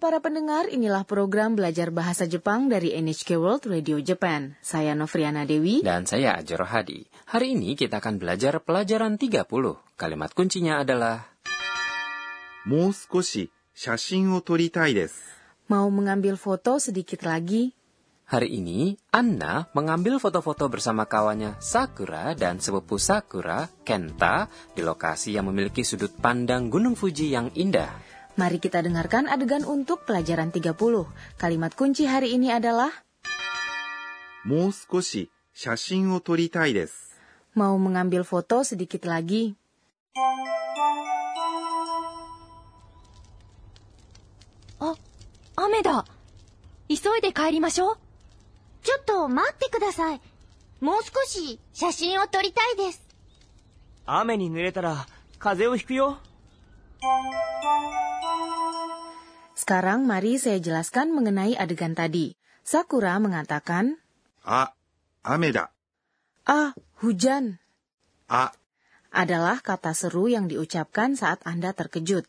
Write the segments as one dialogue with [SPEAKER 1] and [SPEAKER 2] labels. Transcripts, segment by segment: [SPEAKER 1] para pendengar, inilah program belajar bahasa Jepang dari NHK World Radio Japan. Saya Novriana Dewi.
[SPEAKER 2] Dan saya Ajero Hadi. Hari ini kita akan belajar pelajaran 30. Kalimat kuncinya adalah
[SPEAKER 3] もう少し写真を撮りたいです。
[SPEAKER 1] Mau mengambil foto sedikit lagi?
[SPEAKER 2] Hari ini Anna mengambil foto-foto bersama kawannya Sakura dan sepupu Sakura, Kenta, di lokasi yang memiliki sudut pandang Gunung Fuji yang indah.
[SPEAKER 1] Mari kita dengarkan adegan untuk pelajaran 30. Kalimat kunci hari ini adalah
[SPEAKER 3] もう少し写真を撮りたいです。
[SPEAKER 1] mau mengambil foto sedikit lagi. Oh,
[SPEAKER 4] 雨だ急いで帰りましょうちょっと待ってくださいもう少し写真を撮りたいです
[SPEAKER 5] 雨に濡れたら風邪をひくよ
[SPEAKER 1] Sekarang mari saya jelaskan mengenai adegan tadi. Sakura mengatakan,
[SPEAKER 3] あ、雨だ。
[SPEAKER 1] "Ah, hujan."
[SPEAKER 3] あ、
[SPEAKER 1] adalah kata seru yang diucapkan saat Anda terkejut.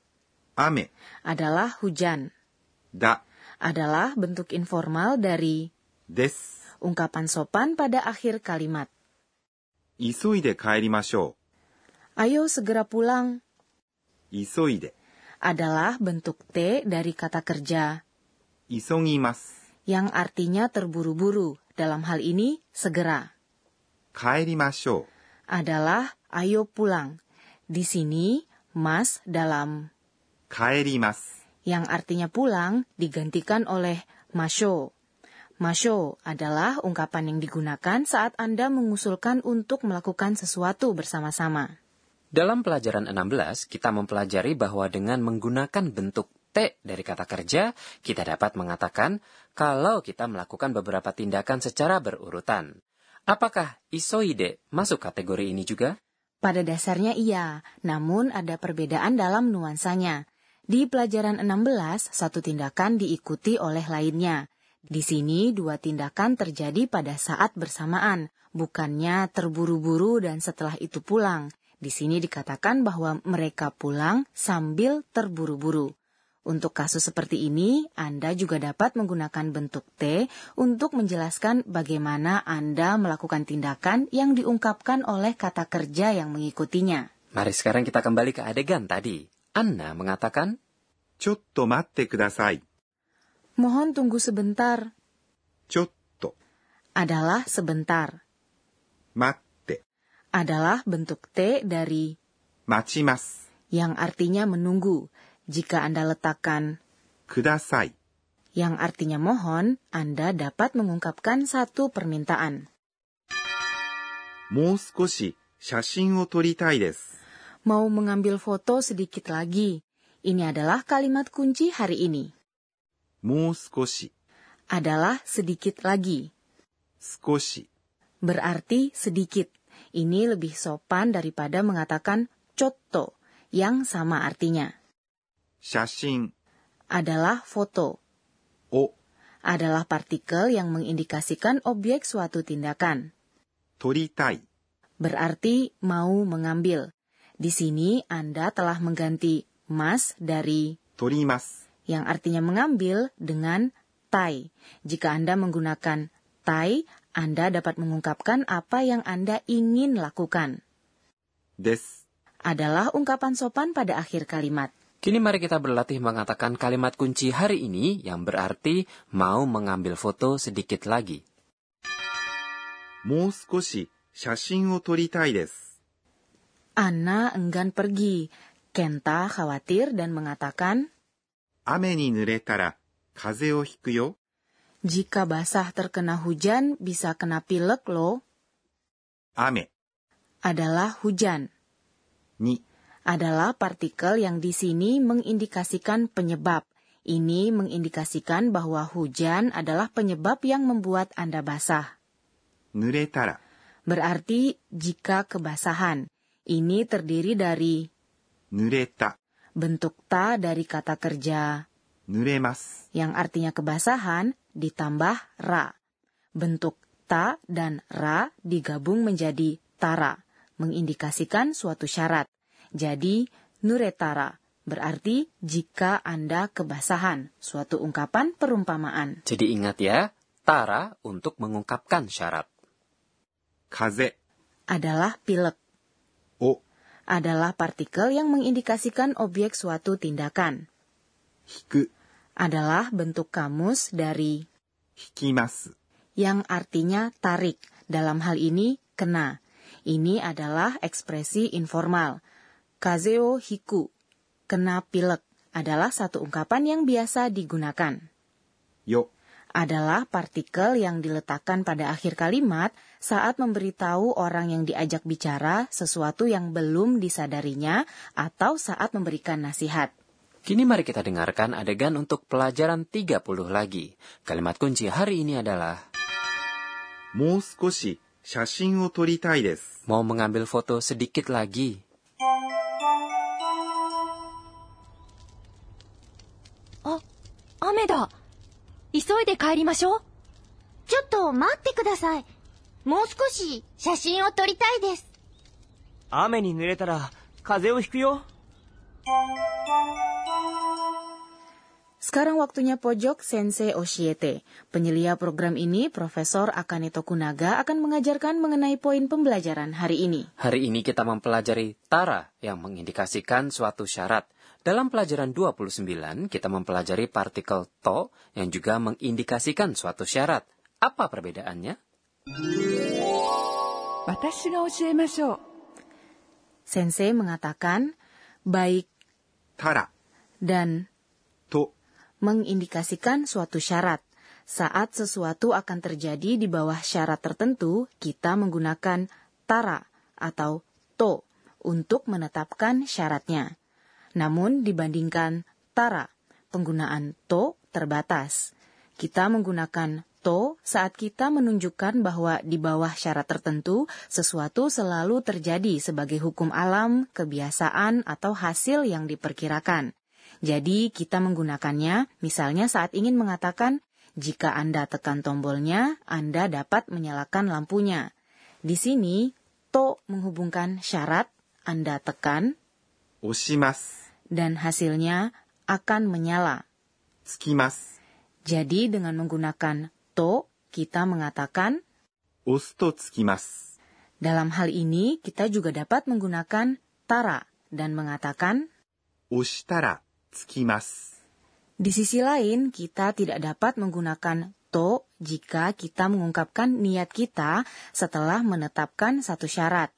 [SPEAKER 3] 雨
[SPEAKER 1] Adalah hujan.
[SPEAKER 3] だ
[SPEAKER 1] Adalah bentuk informal dari
[SPEAKER 3] です。
[SPEAKER 1] ungkapan sopan pada akhir kalimat.
[SPEAKER 3] 急いで帰りましょ
[SPEAKER 1] Ayo segera pulang
[SPEAKER 3] う。急いで。
[SPEAKER 1] adalah bentuk T dari kata kerja
[SPEAKER 3] 急ぎます。
[SPEAKER 1] yang artinya terburu-buru. Dalam hal ini, segera.
[SPEAKER 3] 帰りましょ
[SPEAKER 1] adalah ayo pulang. Di sini, mas dalam
[SPEAKER 3] う。帰ります。
[SPEAKER 1] yang artinya pulang digantikan oleh masyo. Masyo adalah ungkapan yang digunakan saat Anda mengusulkan untuk melakukan sesuatu bersama-sama.
[SPEAKER 2] Dalam pelajaran 16, kita mempelajari bahwa dengan menggunakan bentuk T dari kata kerja, kita dapat mengatakan kalau kita melakukan beberapa tindakan secara berurutan. Apakah isoide masuk kategori ini juga?
[SPEAKER 1] Pada dasarnya iya, namun ada perbedaan dalam nuansanya. Di pelajaran 16, satu tindakan diikuti oleh lainnya. Di sini, dua tindakan terjadi pada saat bersamaan, bukannya terburu-buru dan setelah itu pulang. Di sini dikatakan bahwa mereka pulang sambil terburu-buru. Untuk kasus seperti ini, Anda juga dapat menggunakan bentuk T untuk menjelaskan bagaimana Anda melakukan tindakan yang diungkapkan oleh kata kerja yang mengikutinya.
[SPEAKER 2] Mari sekarang kita kembali ke adegan tadi. Anna mengatakan,
[SPEAKER 3] ちょっと待ってください。
[SPEAKER 1] Mohon tunggu sebentar
[SPEAKER 3] ちょっと
[SPEAKER 1] adalah sebentar,
[SPEAKER 3] 待って。
[SPEAKER 1] adalah bentuk T dari
[SPEAKER 3] 待ちます。
[SPEAKER 1] yang artinya menunggu. Jika Anda letakkan
[SPEAKER 3] ください。
[SPEAKER 1] yang artinya mohon, Anda dapat mengungkapkan satu permintaan.
[SPEAKER 3] もう少し写真を撮りたいです。
[SPEAKER 1] Mau mengambil foto sedikit lagi. Ini adalah kalimat kunci hari ini.
[SPEAKER 3] もう少し、
[SPEAKER 1] Adalah sedikit lagi.
[SPEAKER 3] 少し、
[SPEAKER 1] berarti sedikit. Ini lebih sopan daripada mengatakan coto yang sama artinya.
[SPEAKER 3] 写真
[SPEAKER 1] Adalah foto,
[SPEAKER 3] を
[SPEAKER 1] adalah partikel yang mengindikasikan objek suatu tindakan.
[SPEAKER 3] 撮りたい。
[SPEAKER 1] Berarti mau mengambil. Di sini Anda telah mengganti mas dari
[SPEAKER 3] 撮ります。
[SPEAKER 1] yang artinya mengambil dengan tai. Jika Anda menggunakan tai, Anda dapat mengungkapkan apa yang Anda ingin lakukan.
[SPEAKER 3] です。
[SPEAKER 1] adalah ungkapan sopan pada akhir kalimat.
[SPEAKER 2] Kini mari kita berlatih mengatakan kalimat kunci hari ini yang berarti mau mengambil foto sedikit lagi.
[SPEAKER 3] もう少し写真を撮りたいです。
[SPEAKER 1] Anna enggan pergi. Kenta khawatir dan mengatakan,
[SPEAKER 3] 雨に濡れたら風邪をひくよ。
[SPEAKER 1] jika basah terkena hujan bisa kena pilek loh,
[SPEAKER 3] 雨
[SPEAKER 1] adalah hujan.
[SPEAKER 3] に
[SPEAKER 1] Adalah partikel yang di sini mengindikasikan penyebab. Ini mengindikasikan bahwa hujan adalah penyebab yang membuat Anda basah.
[SPEAKER 3] 濡れたら、
[SPEAKER 1] Berarti jika kebasahan. Ini terdiri dari
[SPEAKER 3] 濡れた、
[SPEAKER 1] bentuk ta dari kata kerja
[SPEAKER 3] 濡れます。
[SPEAKER 1] yang artinya kebasahan, ditambah ra. Bentuk ta dan ra digabung menjadi tara, mengindikasikan suatu syarat. Jadi, nuretara berarti jika Anda kebasahan, suatu ungkapan perumpamaan.
[SPEAKER 2] Jadi ingat ya, tara untuk mengungkapkan syarat.
[SPEAKER 3] 風
[SPEAKER 1] Adalah pilek,
[SPEAKER 3] を
[SPEAKER 1] adalah partikel yang mengindikasikan objek suatu tindakan.
[SPEAKER 3] 引く、
[SPEAKER 1] Adalah bentuk kamus dari
[SPEAKER 3] 引きます。
[SPEAKER 1] yang artinya tarik, dalam hal ini kena. Ini adalah ekspresi informal. Kazeo hiku, kena pilek, adalah satu ungkapan yang biasa digunakan.
[SPEAKER 3] よ、
[SPEAKER 1] Adalah partikel yang diletakkan pada akhir kalimat saat memberitahu orang yang diajak bicara sesuatu yang belum disadarinya atau saat memberikan nasihat.
[SPEAKER 2] Kini mari kita dengarkan adegan untuk pelajaran 30 lagi. Kalimat kunci hari ini adalah
[SPEAKER 3] もう少し写真を撮りたいです。
[SPEAKER 2] mau mengambil foto sedikit lagi.
[SPEAKER 4] あ、雨だ。急いで帰りましょう。ちょっと待ってください。もう少し写真を撮りたいです。
[SPEAKER 5] 雨に濡れたら風邪をひくよ。
[SPEAKER 1] Sekarang waktunya pojok Sensei Oshiete. Penyelia program ini, Profesor Akane Tokunaga akan mengajarkan mengenai poin pembelajaran hari ini.
[SPEAKER 2] Hari ini kita mempelajari tara yang mengindikasikan suatu syarat. Dalam pelajaran 29, kita mempelajari partikel to yang juga mengindikasikan suatu syarat. Apa perbedaannya?
[SPEAKER 6] 私が教えましょう
[SPEAKER 1] Sensei mengatakan baik
[SPEAKER 3] たら、
[SPEAKER 1] dan
[SPEAKER 3] と、
[SPEAKER 1] mengindikasikan suatu syarat. Saat sesuatu akan terjadi di bawah syarat tertentu, kita menggunakan tara atau to untuk menetapkan syaratnya. Namun dibandingkan tara, penggunaan to terbatas. Kita menggunakan to saat kita menunjukkan bahwa di bawah syarat tertentu, sesuatu selalu terjadi sebagai hukum alam, kebiasaan, atau hasil yang diperkirakan. Jadi, kita menggunakannya misalnya saat ingin mengatakan, jika Anda tekan tombolnya, Anda dapat menyalakan lampunya. Di sini, to menghubungkan syarat, Anda tekan,
[SPEAKER 3] 押します。
[SPEAKER 1] dan hasilnya akan menyala.
[SPEAKER 3] つきます。
[SPEAKER 1] Jadi, dengan menggunakan to, kita mengatakan,
[SPEAKER 3] 押すとつきます。
[SPEAKER 1] dalam hal ini kita juga dapat menggunakan tara dan mengatakan,
[SPEAKER 3] 押したら、つきます。
[SPEAKER 1] Di sisi lain, kita tidak dapat menggunakan to jika kita mengungkapkan niat kita setelah menetapkan satu syarat.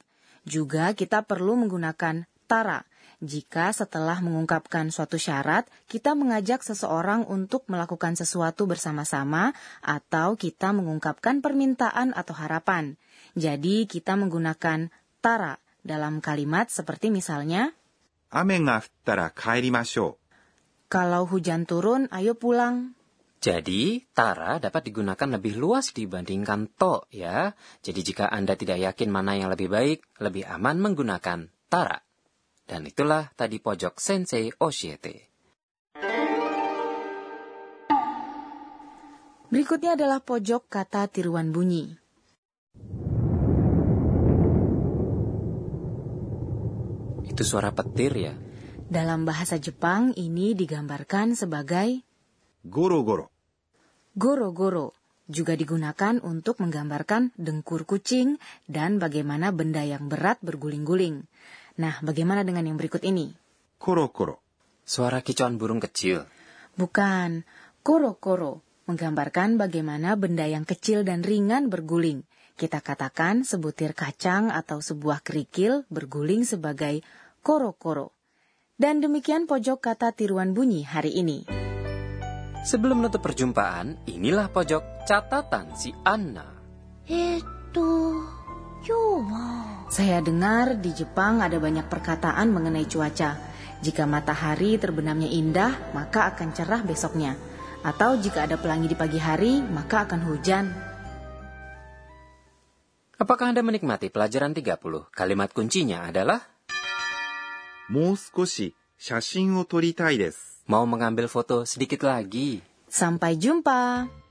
[SPEAKER 1] Juga kita perlu menggunakan tara jika setelah mengungkapkan suatu syarat, kita mengajak seseorang untuk melakukan sesuatu bersama-sama atau kita mengungkapkan permintaan atau harapan. Jadi, kita menggunakan tara dalam kalimat seperti misalnya,
[SPEAKER 3] 雨が降ったら帰りましょ
[SPEAKER 1] kalau hujan turun, ayo pulang.
[SPEAKER 2] Jadi, tara dapat digunakan lebih luas dibandingkan to ya. Jadi jika Anda tidak yakin mana yang lebih baik, lebih aman menggunakan tara. Dan itulah tadi pojok Sensei Oshiete.
[SPEAKER 1] Berikutnya adalah pojok kata tiruan bunyi.
[SPEAKER 2] えっと、そらぱってるや。
[SPEAKER 1] Dalam bahasa Jepang ini digambarkan sebagai
[SPEAKER 3] う。ゴロゴロ、
[SPEAKER 1] goro-goro, juga digunakan untuk menggambarkan dengkur kucing dan bagaimana benda yang berat berguling-guling. Nah, bagaimana dengan yang berikut ini?
[SPEAKER 3] コロコロ、
[SPEAKER 2] Suara kicauan burung kecil.
[SPEAKER 1] Bukan, koro-koro, menggambarkan bagaimana benda yang kecil dan ringan berguling. Kita katakan sebutir kacang atau sebuah kerikil berguling sebagai koro-koro. Dan demikian pojok kata tiruan bunyi hari ini.
[SPEAKER 2] Sebelum menutup perjumpaan, inilah pojok catatan si Anna.
[SPEAKER 4] えー、っと、今日は。
[SPEAKER 1] Saya dengar di Jepang ada banyak perkataan mengenai cuaca. Jika matahari terbenamnya indah, maka akan cerah besoknya. Atau jika ada pelangi di pagi hari, maka akan hujan.
[SPEAKER 2] Apakah Anda menikmati pelajaran 30? Kalimat kuncinya adalah
[SPEAKER 3] もう少し写真を撮りたいです。
[SPEAKER 2] mau mengambil foto sedikit lagi.
[SPEAKER 1] Sampai jumpa.